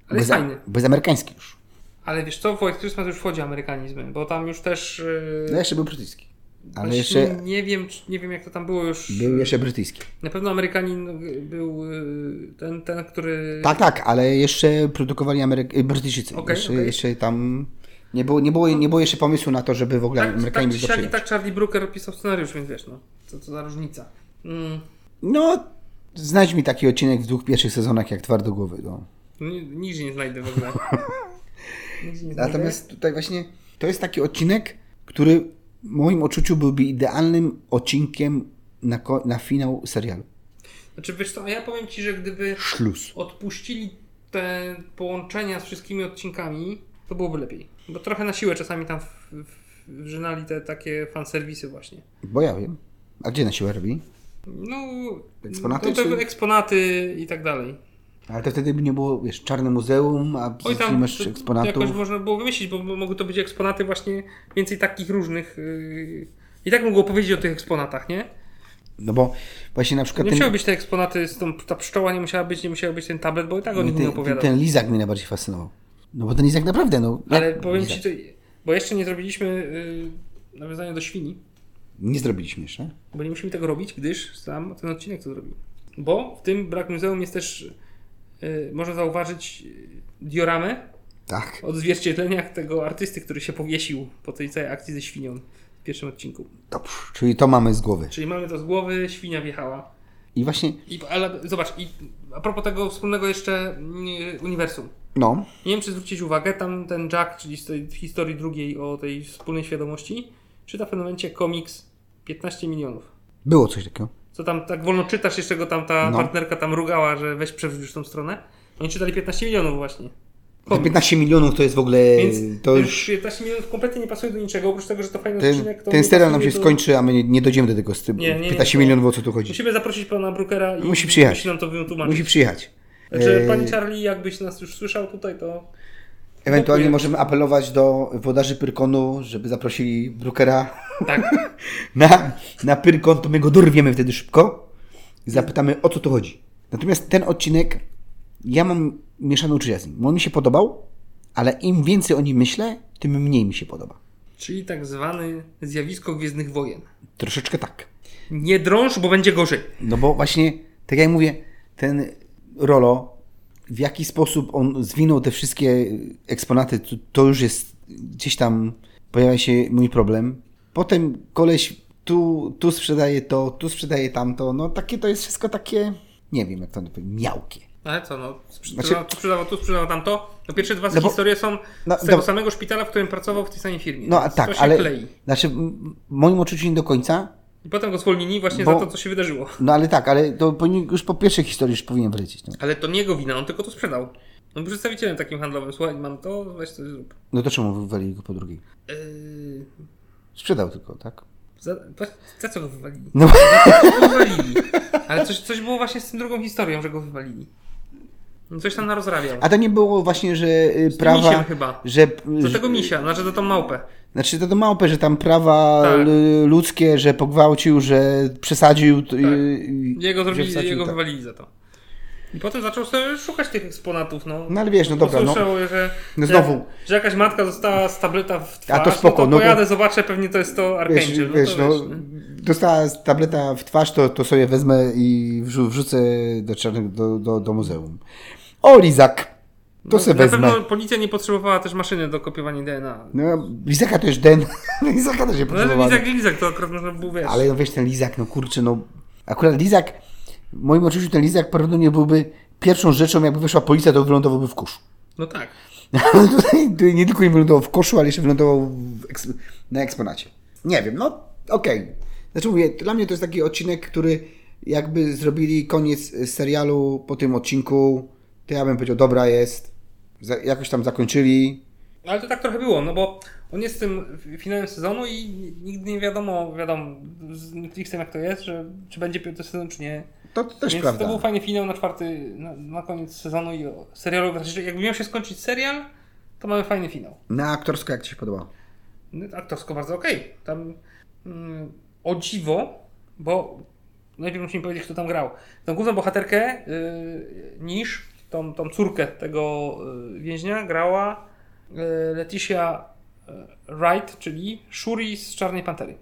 ale jest
Bez,
fajny.
bez amerykański już.
Ale wiesz co, w White Christmas już wchodzi amerykanizm, bo tam już też... Yy,
No jeszcze był brytyjski. Ale
właśnie
jeszcze
Nie wiem, czy- nie wiem jak to tam było już...
był jeszcze brytyjski.
Na pewno Amerykanin y, był y, ten, ten który.
Tak, tak, ale jeszcze produkowali Amery- y, Brytyjczycy.
Okej,
jeszcze,
okej.
jeszcze tam nie było, nie, było, nie było jeszcze pomysłu na to, żeby w ogóle
tak,
Amerykanie
tak, czy
byli do
siak i
przyjęcia.
tak Charlie Brooker pisał scenariusz, więc wiesz, no, co to za różnica. Mm,
No, znajdź mi taki odcinek w dwóch pierwszych sezonach jak Twardogłowy. No.
ni- nigdzie nie znajdę w ogóle. Nigdzie nie znajdę.
Natomiast tutaj właśnie to jest taki odcinek, który w moim odczuciu byłby idealnym odcinkiem na, ko- na finał serialu.
Znaczy, wiesz co, a ja powiem ci, że gdyby
Szluz.
odpuścili te połączenia z wszystkimi odcinkami, to byłoby lepiej. Bo trochę na siłę czasami tam w, w, wrzynali te takie fanserwisy, właśnie.
Bo ja wiem. A gdzie na siłę robi?
No,
Eksponaty,
no, to
czy-
były eksponaty i tak dalej.
Ale to wtedy by nie było, wiesz, Czarne Muzeum, a
Oj,
tam,
tam
masz
to- to
eksponatów.
jakoś można było wymyślić, bo bo mogły to być eksponaty właśnie więcej takich różnych. Yy... I tak mogło powiedzieć o tych eksponatach, nie?
No bo właśnie na
Nie
przykład
musiały
ten,
być te eksponaty, z tą, ta pszczoła nie musiała być, nie musiał być ten tablet, bo i tak o nim nie
No ten,
opowiadał.
ten Lizak mnie najbardziej fascynował. No bo ten Lizak naprawdę, no...
Ale
jak-
powiem
Lizak.
ci, to, bo jeszcze nie zrobiliśmy yy, nawiązania do świni,
Nie zrobiliśmy jeszcze.
bo nie musimy tego robić, gdyż sam ten odcinek to zrobił. Bo w tym brak muzeum jest też, yy, można zauważyć, yy, dioramę
Tak.
odzwierciedlenia tego artysty, który się powiesił po tej całej akcji ze świnią w pierwszym odcinku.
Dobrze. Czyli to mamy z głowy.
Czyli mamy to z głowy, świnia wjechała.
I właśnie,
I, ale zobacz, i a propos tego wspólnego jeszcze mm, uniwersum.
no,
Nie wiem, czy zwrócić uwagę, tam ten Jack, czyli z tej historii drugiej o tej wspólnej świadomości, czyta w pewnym momencie komiks 15 milionów.
było coś takiego.
Co tam tak wolno czytasz, jeszcze go tam ta
No.
partnerka tam rugała, że weź przewróć już tą stronę. Oni czytali 15 milionów właśnie.
Te
Komiks.
15 milionów to jest w ogóle...
Więc
to już...
15 milionów kompletnie nie pasuje do niczego, oprócz tego, że to fajny
Ten,
odcinek. To
ten
nie
serial nam się
pasuje do-
skończy, a my nie, nie dojdziemy do tego z tym.
Nie, nie, nie,
15
to-
milionów, o co tu chodzi.
Musimy zaprosić pana Brookera i
Musi przyjechać.
musi nam to wytłumaczyć.
Musi przyjechać.
Znaczy,
Eee,
panie Charlie, jakbyś nas już słyszał tutaj, to
Ewentualnie
Dziękuję.
możemy apelować do wodarzy Pyrkonu, żeby zaprosili Brookera
tak.
na, na Pyrkon, to my go dorwiemy wtedy szybko i zapytamy o co tu chodzi. Natomiast ten odcinek, ja mam mieszane uczucia z nim. bo On mi się podobał, ale im więcej o nim myślę, tym mniej mi się podoba.
Czyli tak zwane zjawisko Gwiezdnych Wojen.
Troszeczkę tak.
Nie drąż, bo będzie gorzej.
No bo właśnie, tak jak mówię, ten Rolo, w jaki sposób on zwinął te wszystkie eksponaty, to, to już jest gdzieś tam pojawia się mój problem. Potem koleś tu, tu sprzedaje to, tu sprzedaje tamto. No takie to jest wszystko takie, nie wiem jak to powiedzieć, miałkie.
Ale co, no, sprzedawał,
Znaczy-
tu sprzedawał, tu sprzedawał tamto. No pierwsze dwa
No bo-
historie są
no,
z tego
no-
samego szpitala, w którym pracował w tej samej firmie.
No a
Więc to
tak,
się
ale
klei.
znaczy m- w moim odczuciu nie do końca.
I potem go zwolnili właśnie
Bo-
za to, co się wydarzyło.
No ale tak, ale to powinien, już po pierwszej historii już powinien wlecieć. No,
Ale to nie jego wina, on tylko to sprzedał. No przedstawicielem takim handlowym, słuchaj, mam to, weź to zrób.
no to czemu wywalili go po drugiej?
Yy,
Sprzedał tylko, tak?
za, wa- za co go wywalili?
No,
Go wywalili. Ale coś, coś było właśnie z tą drugą historią, że go wywalili. No Coś tam narozrabiał.
a to nie było właśnie, że y,
Z tym
prawa...
misiem chyba.
Że,
Do
że,
tego misia, znaczy do tą małpę.
znaczy to do małpy, że tam prawa
Tak.
l- ludzkie, że pogwałcił, że przesadził. Tak.
Jego, zrobili, jego wywalili za to. I potem zaczął sobie szukać tych eksponatów, no.
No ale wiesz, no dobra, no.
Usłyszał, że,
No
że-
znowu.
że jakaś matka została z tableta w twarz,
to spoko,
no to
no bo-
pojadę, zobaczę, pewnie to jest to
Wiesz,
Archangel. no
wiesz,
to
no,
wiesz, nie?
dostała z- tableta w twarz, to, to sobie wezmę i wrzu- wrzucę do, czarnego- do, do, do muzeum. O, Lizak! To
No,
sobie
na
wezmę.
pewno policja nie potrzebowała też maszyny do kopiowania DNA.
No, Lizaka to już den. Lizaka też nie
No ale
potrzebowałem.
Lizak, Lizak to akurat można było wiesz.
Ale no wiesz, ten Lizak, no kurczę, no. Akurat Lizak, w moim odczuciu ten Lizak prawdopodobnie byłby pierwszą rzeczą, jakby wyszła policja, to wylądowałby w koszu.
No tak.
Tutaj tutaj nie tylko nie wylądował w koszu, ale jeszcze wylądował w eks- na eksponacie. Nie wiem, no okej. Znaczy mówię, dla mnie to jest taki odcinek, który jakby zrobili koniec serialu po tym odcinku, to ja bym powiedział, dobra jest, za, jakoś tam zakończyli.
Ale to tak trochę było, no bo on jest tym finałem sezonu i nigdy nie wiadomo, wiadomo, z Netflixem jak to jest, że czy będzie piąty sezon, czy nie.
To, to też
Więc
prawda.
to był fajny finał na czwarty, na, na koniec sezonu i o- serialu. Znaczy, jakby miał się skończyć serial, to mamy fajny finał.
Na aktorsko jak Ci się podobało?
No, Aktorsko bardzo okej. Tam mm, o dziwo, bo najpierw musimy powiedzieć, kto tam grał. Tą główną bohaterkę yy, Nisz, tą, tą córkę tego y, więźnia grała y, Leticia y, Wright, czyli Shuri z Czarnej Pantery.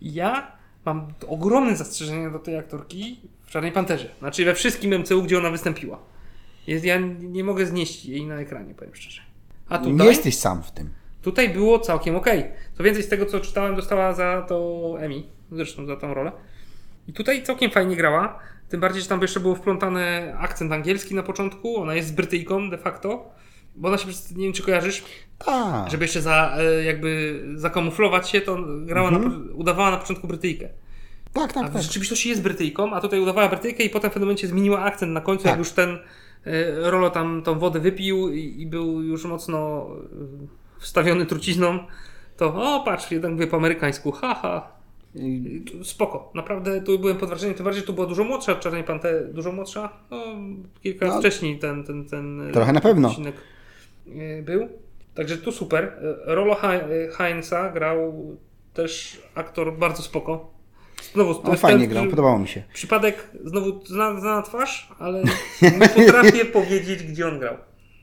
Ja mam ogromne zastrzeżenia do tej aktorki w Czarnej Panterze. Znaczy we wszystkim MCU, gdzie ona wystąpiła. Jest, ja nie mogę znieść jej na ekranie, powiem szczerze. A tutaj...
Nie jesteś sam w tym.
Tutaj było całkiem okej. Co więcej, z tego co czytałem, dostała za to Emmy, zresztą za tą rolę. I tutaj całkiem fajnie grała. Tym bardziej, że tam jeszcze był wplątany akcent angielski na początku. Ona jest Brytyjką de facto. Bo ona się, przez- nie wiem czy kojarzysz,
Tak.
żeby jeszcze za, e, jakby zakamuflować się, to grała na, po- udawała na początku Brytyjkę.
Tak,
A
tak,
w
tak.
rzeczywistości jest Brytyjką, a tutaj udawała Brytyjkę i potem w pewnym momencie zmieniła akcent na końcu,
Tak.
jak już ten e, Rolo tam tą wodę wypił i, i był już mocno e, wstawiony trucizną, to o patrz, jednak wie po amerykańsku, haha.
Y,
Spoko, naprawdę tu byłem pod wrażeniem, tym bardziej tu była dużo młodsza od Czarnej Pantery, dużo młodsza, no kilka lat
No.
wcześniej ten, ten, ten e,
Trochę na pewno.
odcinek e, był. Także tu super. E, Rolo Hi- Heinza grał też aktor bardzo spoko. Znowu, to
On
jest
No, fajnie
ten,
grał,
który-
podobało mi się.
Przypadek, znowu zna, zna twarz, ale nie potrafię powiedzieć, gdzie on grał.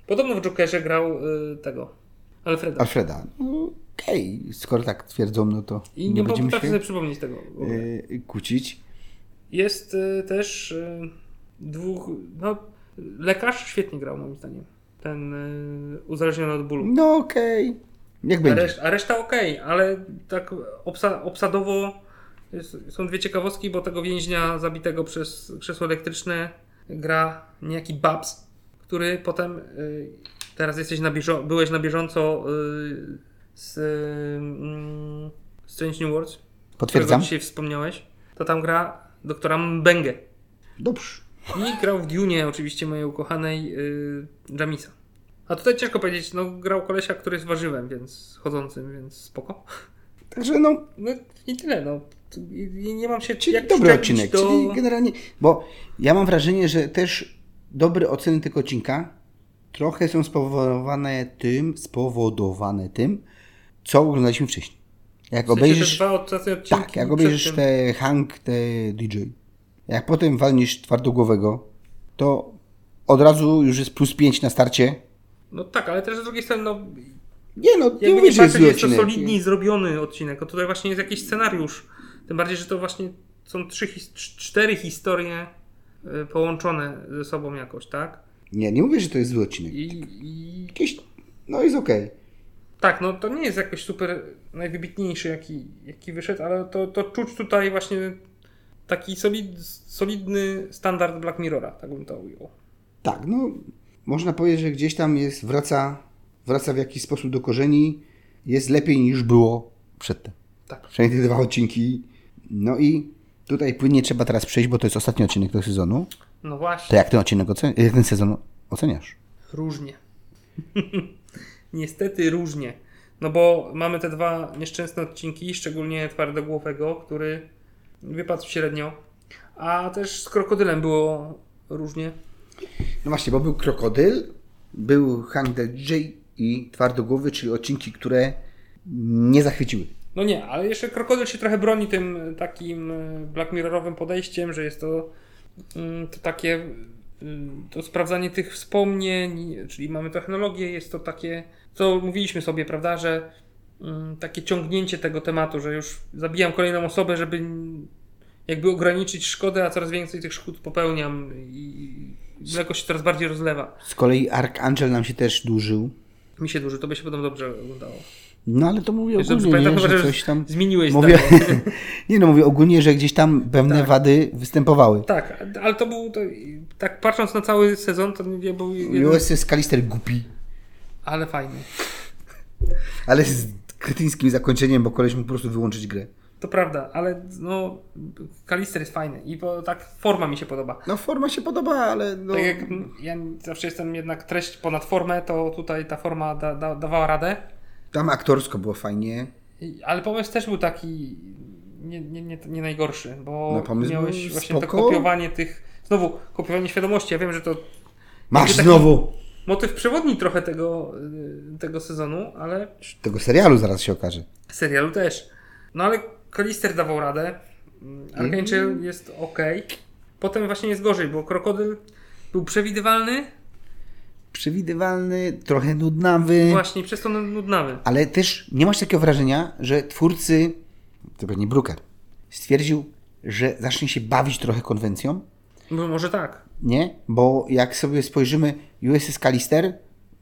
Podobno w Jokerze grał y, tego, Alfreda.
Alfreda. no, Okej, skoro tak twierdzą, no to
I
nie,
nie, tak,
będziemy
potrafię sobie
się
przypomnieć tego. w ogóle.
y, kłócić.
Jest y, też y, dwóch, no, lekarz świetnie grał moim zdaniem. Ten y, uzależniony od bólu.
No okej, niech
A,
będzie.
reszt, a reszta okej, ale tak obsa, obsadowo jest, są dwie ciekawostki, bo tego więźnia zabitego przez krzesło elektryczne gra niejaki Babs, który potem y, teraz jesteś na bieżo, byłeś na bieżąco y, z y, y, Strange New Worlds, którego
Potwierdzam.
dzisiaj wspomniałeś, to tam gra doktora Mbengę
Dobrze.
i grał w Dune oczywiście mojej ukochanej y, Jamisa. A tutaj ciężko powiedzieć, no grał kolesia, który jest warzywem, więc chodzącym, więc spoko.
Także no,
No i tyle, no. I, i nie mam się
czyli
jak
dobry
przyczepić
odcinek.
Do...
Czyli generalnie, bo ja mam wrażenie, że też dobre oceny tego odcinka trochę są spowodowane tym, spowodowane tym, co oglądaliśmy wcześniej. Jak
W sensie te
obejrzysz,
dwa ostatnie odcinki
tak, jak
przed
obejrzysz
tym.
te Hank, te DJ, jak potem walniesz twardogłowego, to od razu już jest plus 5 na starcie.
No tak, ale też z drugiej strony, no.
Nie no, nie
Jakby
mówię,
nie
że jest
patrzeć,
zły
jest to
odcinek.
solidniej zrobiony odcinek. O tutaj właśnie jest jakiś scenariusz. Tym bardziej, że to właśnie są trzy, his- cz- cztery historie y, połączone ze sobą jakoś, tak?
Nie, nie mówię, że to jest zły odcinek.
I, i
Jakiś, no jest okej.
Tak, no to nie jest jakoś super najwybitniejszy, jaki, jaki wyszedł, ale to, to czuć tutaj właśnie taki solid, solidny standard Black Mirrora, tak bym to ujął.
Tak, no można powiedzieć, że gdzieś tam jest, wraca, wraca w jakiś sposób do korzeni, jest lepiej niż było przedtem.
Tak.
Przynajmniej te dwa odcinki. No i tutaj płynnie trzeba teraz przejść, bo to jest ostatni odcinek tego sezonu.
No
To
właśnie,
jak ten odcinek oceniasz? Jak ten sezon oceniasz?
różnie. Niestety różnie. No bo mamy te dwa nieszczęsne odcinki, szczególnie twardogłowego, który wypadł średnio. A też z krokodylem było różnie.
No właśnie, bo był Krokodyl, był Hang the J i Twardogłowy, czyli odcinki, które nie zachwyciły.
No nie, ale jeszcze Krokodyl się trochę broni tym takim e, Black Mirrorowym podejściem, że jest to, mm, to takie mm, to sprawdzanie tych wspomnień, czyli mamy technologię, jest to takie, co mówiliśmy sobie, prawda, że mm, takie ciągnięcie tego tematu, że już zabijam kolejną osobę, żeby n- jakby ograniczyć szkodę, a coraz więcej tych szkód popełniam i i mleko się coraz bardziej rozlewa.
Z kolei Archangel nam się też dłużył.
Mi się duży, to by się potem dobrze oglądało.
No ale to mówię
Dobrze
ogólnie,
pamiętam,
nie,
chyba,
że
że
coś tam...
zmieniłeś
Mówię,
zdanie.
nie no, mówię ogólnie, że gdzieś tam pewne
Tak.
wady występowały.
Tak, ale to był. To, tak patrząc na cały sezon, to nie był. Jeden,
US jest Kalister głupi,
ale fajny.
ale z kretyńskim zakończeniem, bo koleś mógł po prostu wyłączyć grę.
To prawda, ale no. Kalister jest fajny i bo tak forma mi się podoba.
No forma się podoba, ale no...
Tak jak ja zawsze jestem jednak treść ponad formę, to tutaj ta forma da, da, dawała radę.
Tam aktorsko było fajnie.
I- Ale pomysł też był taki nie, nie, nie, nie najgorszy, bo
No, pomysł
miałeś
był
właśnie to
spoko.
kopiowanie tych. Znowu, kopiowanie świadomości. Ja wiem, że to
Masz
taki-
znowu!
motyw przewodni trochę tego, y, tego sezonu, ale
Tego serialu zaraz się okaże.
serialu też. No ale Kalister dawał radę. Mm,
Mhm.
Archangel jest ok. Potem właśnie jest gorzej, bo krokodyl był przewidywalny,
Przewidywalny, trochę nudnawy,
właśnie przez to nudnawy.
ale też nie masz takiego wrażenia, że twórcy, to pewnie Brooker, stwierdził, że zacznie się bawić trochę konwencją,
No, może tak.
nie? Bo jak sobie spojrzymy USS Callister,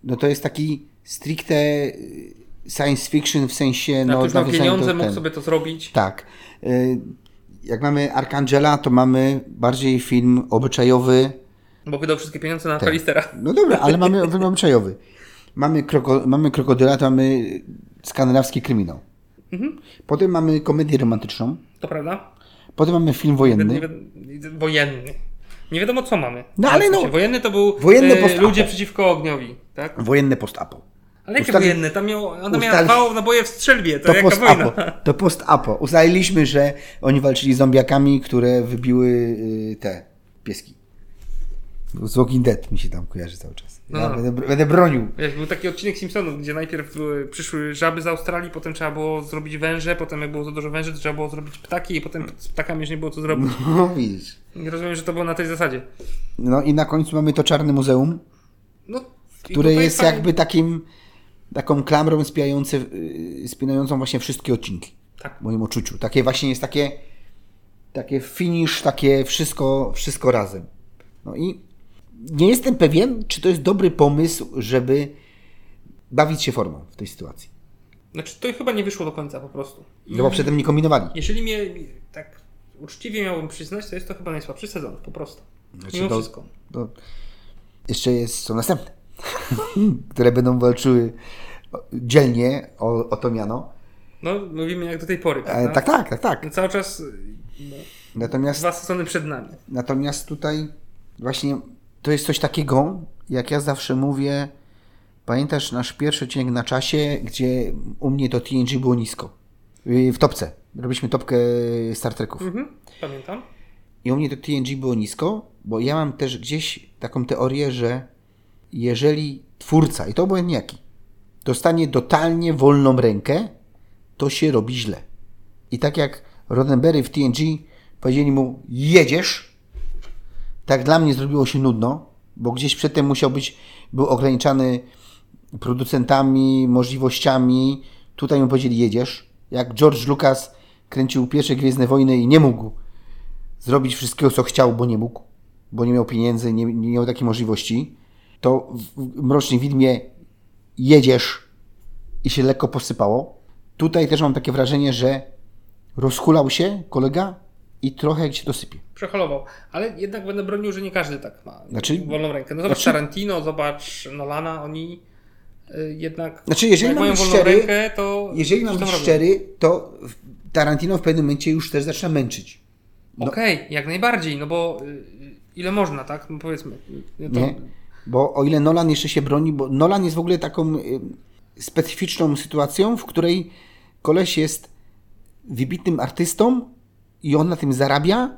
no to jest taki stricte y, science fiction w sensie...
Na no, to już miał
nawiązania do
pieniądze, mógł
ten-
sobie to zrobić.
Tak. Y, Jak mamy Archangela, to mamy bardziej film obyczajowy,
Bo wydał wszystkie pieniądze na Kalistera.
No dobra, ale mamy film obyczajowy. Mamy, kroko, mamy krokodyla, to mamy skandynawski kryminał.
Mhm.
Potem mamy komedię romantyczną.
To prawda?
Potem mamy film
Nie
wojenny.
wi- wojenny. Nie wiadomo co mamy.
No, ale
W
no-
sensie, Wojenny to był
Wojenny
e,
post-apo.
ludzie przeciwko ogniowi, tak?
Wojenne post-apo.
Ale jakie
Ustali-
wojenne? Tam miał, ona miała
ustali-
dwa naboje w strzelbie, to,
To
jaka wojna.
post-apo. To post-apo. Ustaliliśmy, że oni walczyli z zombiakami, które wybiły y, te pieski. Z Walking Dead mi się tam kojarzy cały czas. Ja
No.
będę, będę bronił.
Wiesz, był taki odcinek Simpsonów, gdzie najpierw były, przyszły żaby z Australii, potem trzeba było zrobić węże, potem jak było za dużo węży, to trzeba było zrobić ptaki i potem z ptakami już nie było co zrobić.
No, widzisz.
I rozumiem, że to było na tej zasadzie.
No i na końcu mamy to Czarne Muzeum.
No, i
które
tutaj
jest
fajnie.
jakby takim taką klamrą spijający, yy, spinającą właśnie wszystkie odcinki.
Tak.
W moim odczuciu. Takie właśnie jest takie takie finish, takie wszystko, wszystko razem. No i nie jestem pewien, czy to jest dobry pomysł, żeby bawić się formą w tej sytuacji.
Znaczy, to chyba nie wyszło do końca po prostu. I
No bo przedtem nie kombinowali.
Jeżeli mnie tak uczciwie miałbym przyznać, to jest to chyba najsłabszy sezon, po prostu.
Znaczy,
Mimo
to-
wszystko.
To jeszcze jest, są następne, które będą walczyły dzielnie o, o to miano.
No, mówimy jak do tej pory,
E,
prawda?
tak, tak, tak, tak.
No, Cały czas no,
Natomiast
dwa sezony przed nami.
Natomiast tutaj właśnie to jest coś takiego, jak ja zawsze mówię, pamiętasz nasz pierwszy odcinek na czasie, gdzie u mnie to TNG było nisko. Yy, W topce. Robiliśmy topkę Star Treków.
Mhm, pamiętam.
I u mnie to TNG było nisko, bo ja mam też gdzieś taką teorię, że jeżeli twórca, i to obojętnie jaki, dostanie totalnie wolną rękę, to się robi źle. I tak jak Roddenberry w TNG powiedzieli mu, jedziesz, tak dla mnie zrobiło się nudno, bo gdzieś przedtem musiał być, był ograniczany producentami, możliwościami. Tutaj mu powiedzieli, jedziesz. Jak George Lucas kręcił pierwsze Gwiezdne Wojny i nie mógł zrobić wszystkiego, co chciał, bo nie mógł, bo nie miał pieniędzy, nie, nie miał takiej możliwości, to w w Mrocznym Widmie jedziesz i się lekko posypało. Tutaj też mam takie wrażenie, że rozhulał się kolega i trochę się dosypie.
Przeholował. Ale jednak będę bronił, że nie każdy tak ma
Znaczy-
wolną rękę. No zobacz
znaczy-
Tarantino, zobacz Nolana, oni y, jednak
Znaczy, jeżeli
jak
mam
mają
być
wolną
szczery,
rękę, to
Jeżeli
coś
mam
tam
być
robią.
szczery, to w- Tarantino w pewnym momencie już też zaczyna męczyć. no-
Okej, jak najbardziej, no bo y, ile można, tak? No powiedzmy. Y, To,
Nie? Bo o ile Nolan jeszcze się broni, bo Nolan jest w ogóle taką y, specyficzną sytuacją, w której koleś jest wybitnym artystą i on na tym zarabia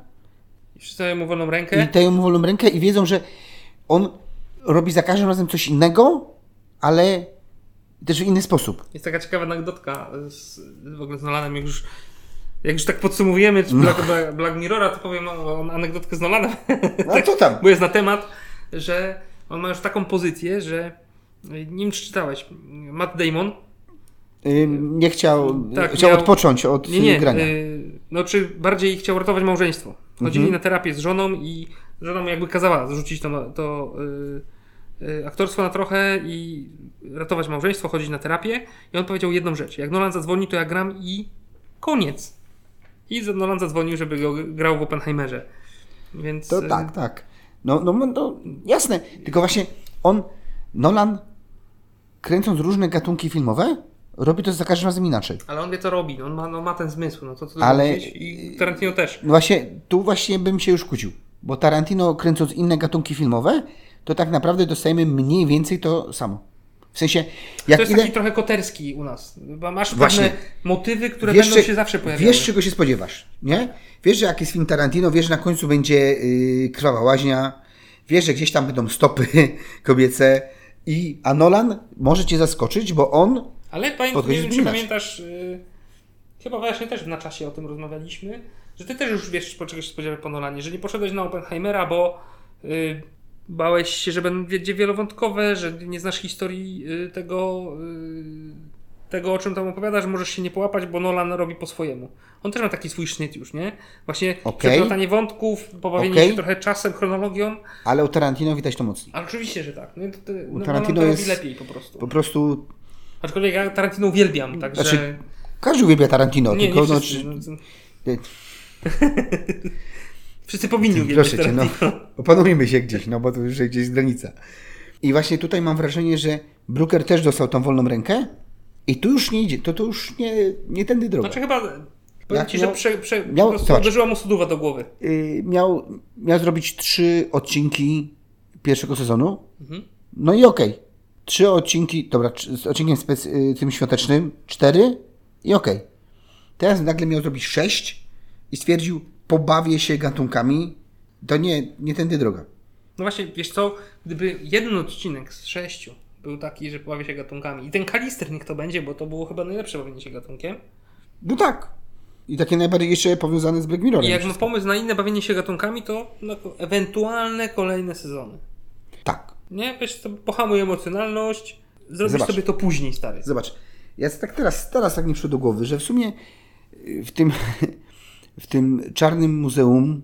Wszyscy dają mu wolną
i
rękę.
dają mu wolną rękę i wiedzą, że on robi za każdym razem coś innego, ale też w inny sposób.
Jest taka ciekawa anegdotka z, w ogóle z Nolanem, jak już, jak już tak podsumowujemy czy Black, Black, Black Mirrora, to powiem o, o anegdotkę z Nolanem.
No to tam.
bo jest na temat, że on ma już taką pozycję, że e, nie wiem czy czytałeś, Matt Damon,
Y, nie chciał,
Tak,
chciał
miał-
odpocząć od
nie, nie,
grania.
y, no czy bardziej chciał ratować małżeństwo. Chodzili
Mhm.
na terapię z żoną i żona mu jakby kazała zrzucić to, to y, y, aktorstwo na trochę i ratować małżeństwo, chodzić na terapię i on powiedział jedną rzecz, jak Nolan zadzwoni to ja gram i koniec. I Nolan zadzwonił, żeby go grał w Oppenheimerze. Więc
To
y,
tak, tak. No, no, no jasne. Tylko właśnie on, Nolan, kręcąc różne gatunki filmowe, robi to za każdym razem inaczej.
Ale on wie, co robi. On ma, no, ma ten zmysł. No to co
Ale-
Ale... I Tarantino też.
No Właśnie tu właśnie bym się już kłócił, bo Tarantino kręcąc inne gatunki filmowe, to tak naprawdę dostajemy mniej więcej to samo. W sensie,
to
jak
jest
ile...
taki trochę koterski u nas. Bo masz
Właśnie.
pewne motywy, które
Wiesz,
będą
czy-
się zawsze pojawiały.
Wiesz, czego się spodziewasz, nie? Wiesz, że jak jest film Tarantino, wiesz, że na końcu będzie yy, krwawa łaźnia, wiesz, że gdzieś tam będą stopy kobiece i a Nolan może cię zaskoczyć, bo on
Ale pamię-
Podchodzi
nie wiem, czy
inaczej.
pamiętasz, y, chyba właśnie też na czasie o tym rozmawialiśmy, że ty też już wiesz, po czego się spodziewać po Nolanie, że nie poszedłeś na Oppenheimera, bo y, bałeś się, że będzie wielowątkowe, że nie znasz historii y, tego, y, tego, o czym tam opowiadasz, możesz się nie połapać, bo Nolan robi po swojemu. On też ma taki swój sznyt już, nie? Właśnie
Okej.
przeplatanie wątków, pobawienie
Okej.
się trochę czasem, chronologią,
Ale u Tarantino widać to mocniej.
ale oczywiście, że tak. No, i to, to, no,
Tarantino
Nolan to
jest-
robi lepiej po prostu.
Po prostu
Aczkolwiek ja Tarantino uwielbiam, także...
Znaczy, każdy uwielbia Tarantino,
Nie,
tylko
nie
no,
wszyscy,
czy-
no,
ty-
wszyscy powinni uwielbiać
proszę cię, no,
Tarantino.
opanujmy się gdzieś, no bo to już gdzieś jest granica. I właśnie tutaj mam wrażenie, że Brooker też dostał tą wolną rękę i tu już nie idzie, to to już nie, nie tędy droga.
Znaczy chyba, powiem
Jak
ci,
miał-
że prze, prze,
miał-
po prostu
zobacz.
uderzyła mu suduwa do głowy.
Y, miał, miał zrobić trzy odcinki pierwszego sezonu,
Mhm.
no i okej. Trzy odcinki, dobra, trzy- z odcinkiem spec- y, tym świątecznym, cztery i okej. Teraz nagle miał zrobić sześć i stwierdził, pobawię się gatunkami, to nie, nie tędy droga.
No właśnie, wiesz co, gdyby jeden odcinek z sześciu był taki, że bawię się gatunkami i ten kalister niech to będzie, bo to było chyba najlepsze bawienie się gatunkiem.
No tak. I takie najbardziej jeszcze powiązane z Black Mirrorem.
I jak ma pomysł na inne bawienie się gatunkami, to no, ewentualne kolejne sezony.
Tak.
Nie? Wiesz, to pohamuj emocjonalność, zrobisz
Zobacz.
sobie to później, stary.
Zobacz, ja tak teraz, teraz tak mi przyszło do głowy, że w sumie y, w tym, w tym czarnym muzeum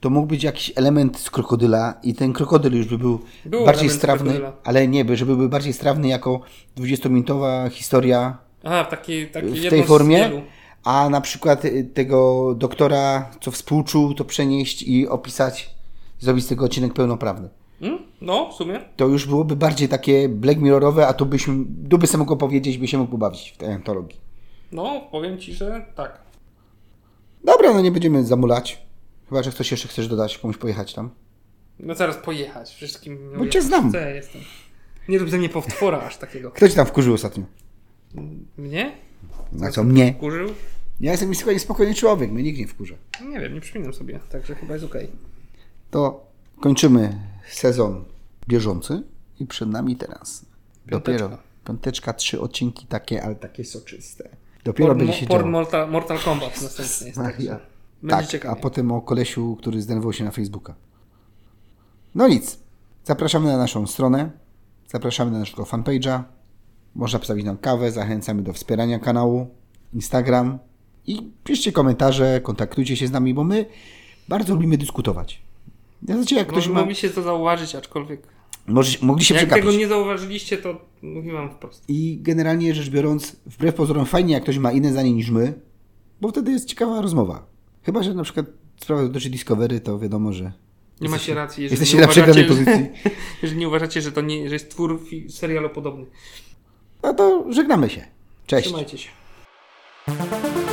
to mógł być jakiś element z krokodyla i ten krokodyl już by był
Był
bardziej
element z
strawny,
krokodyla.
ale nie, by, żeby był bardziej strawny jako 20-minutowa historia
Aha, w takiej, takiej
w
jedno
tej
z
formie,
wielu.
a na przykład y, tego doktora, co współczuł, to przenieść i opisać, zrobić z tego odcinek pełnoprawny.
Hmm? No, w sumie.
to już byłoby bardziej takie Black Mirrorowe, a tu byśmy, tu by sobie mógł powiedzieć, by się mógł bawić w tej antologii.
No, powiem ci, że tak.
Dobra, no nie będziemy zamulać. Chyba, że ktoś jeszcze chcesz dodać, komuś pojechać tam.
No zaraz pojechać wszystkim.
Bo cię znam.
Co ja jestem? Nie rób ze mnie powtwora aż takiego.
Kto cię tam wkurzył ostatnio?
Mnie?
Na co mnie?
Kurzył?
Ja jestem niespokojny, spokojny człowiek, mnie nikt nie wkurza.
Nie wiem, nie przypominam sobie, także chyba jest okej.
To kończymy sezon bieżący i przed nami teraz.
Piąteczka.
Dopiero piąteczka, trzy odcinki takie, ale takie soczyste. Dopiero
Porn,
będzie się
porn
działo.
Mortal, Mortal Kombat następny jest. Także. Będzie
Tak, a
ciekawie.
potem o kolesiu, który zdenerwował się na Facebooka. No nic. Zapraszamy na naszą stronę. Zapraszamy na naszego fanpage'a. Można postawić nam kawę. Zachęcamy do wspierania kanału. Instagram. I piszcie komentarze, kontaktujcie się z nami, bo my bardzo lubimy dyskutować. Ja znaczy, jak ktoś
Ktoś
ma...
mi się to zauważyć, aczkolwiek
Może, mogli się
Jak
przegapić.
tego nie zauważyliście, to mówię wam wprost.
I generalnie rzecz biorąc, wbrew pozorom fajnie, jak ktoś ma inne zdanie niż my, bo wtedy jest ciekawa rozmowa. Chyba, że na przykład sprawa dotyczy Discovery, to wiadomo, że
Nie macie racji, jeżeli
jesteście
nie
na przegranej
uważacie,
pozycji.
Że, jeżeli nie uważacie, że to nie, że jest twór fi- serialu podobny.
No to żegnamy się. Cześć.
Trzymajcie się.
Thank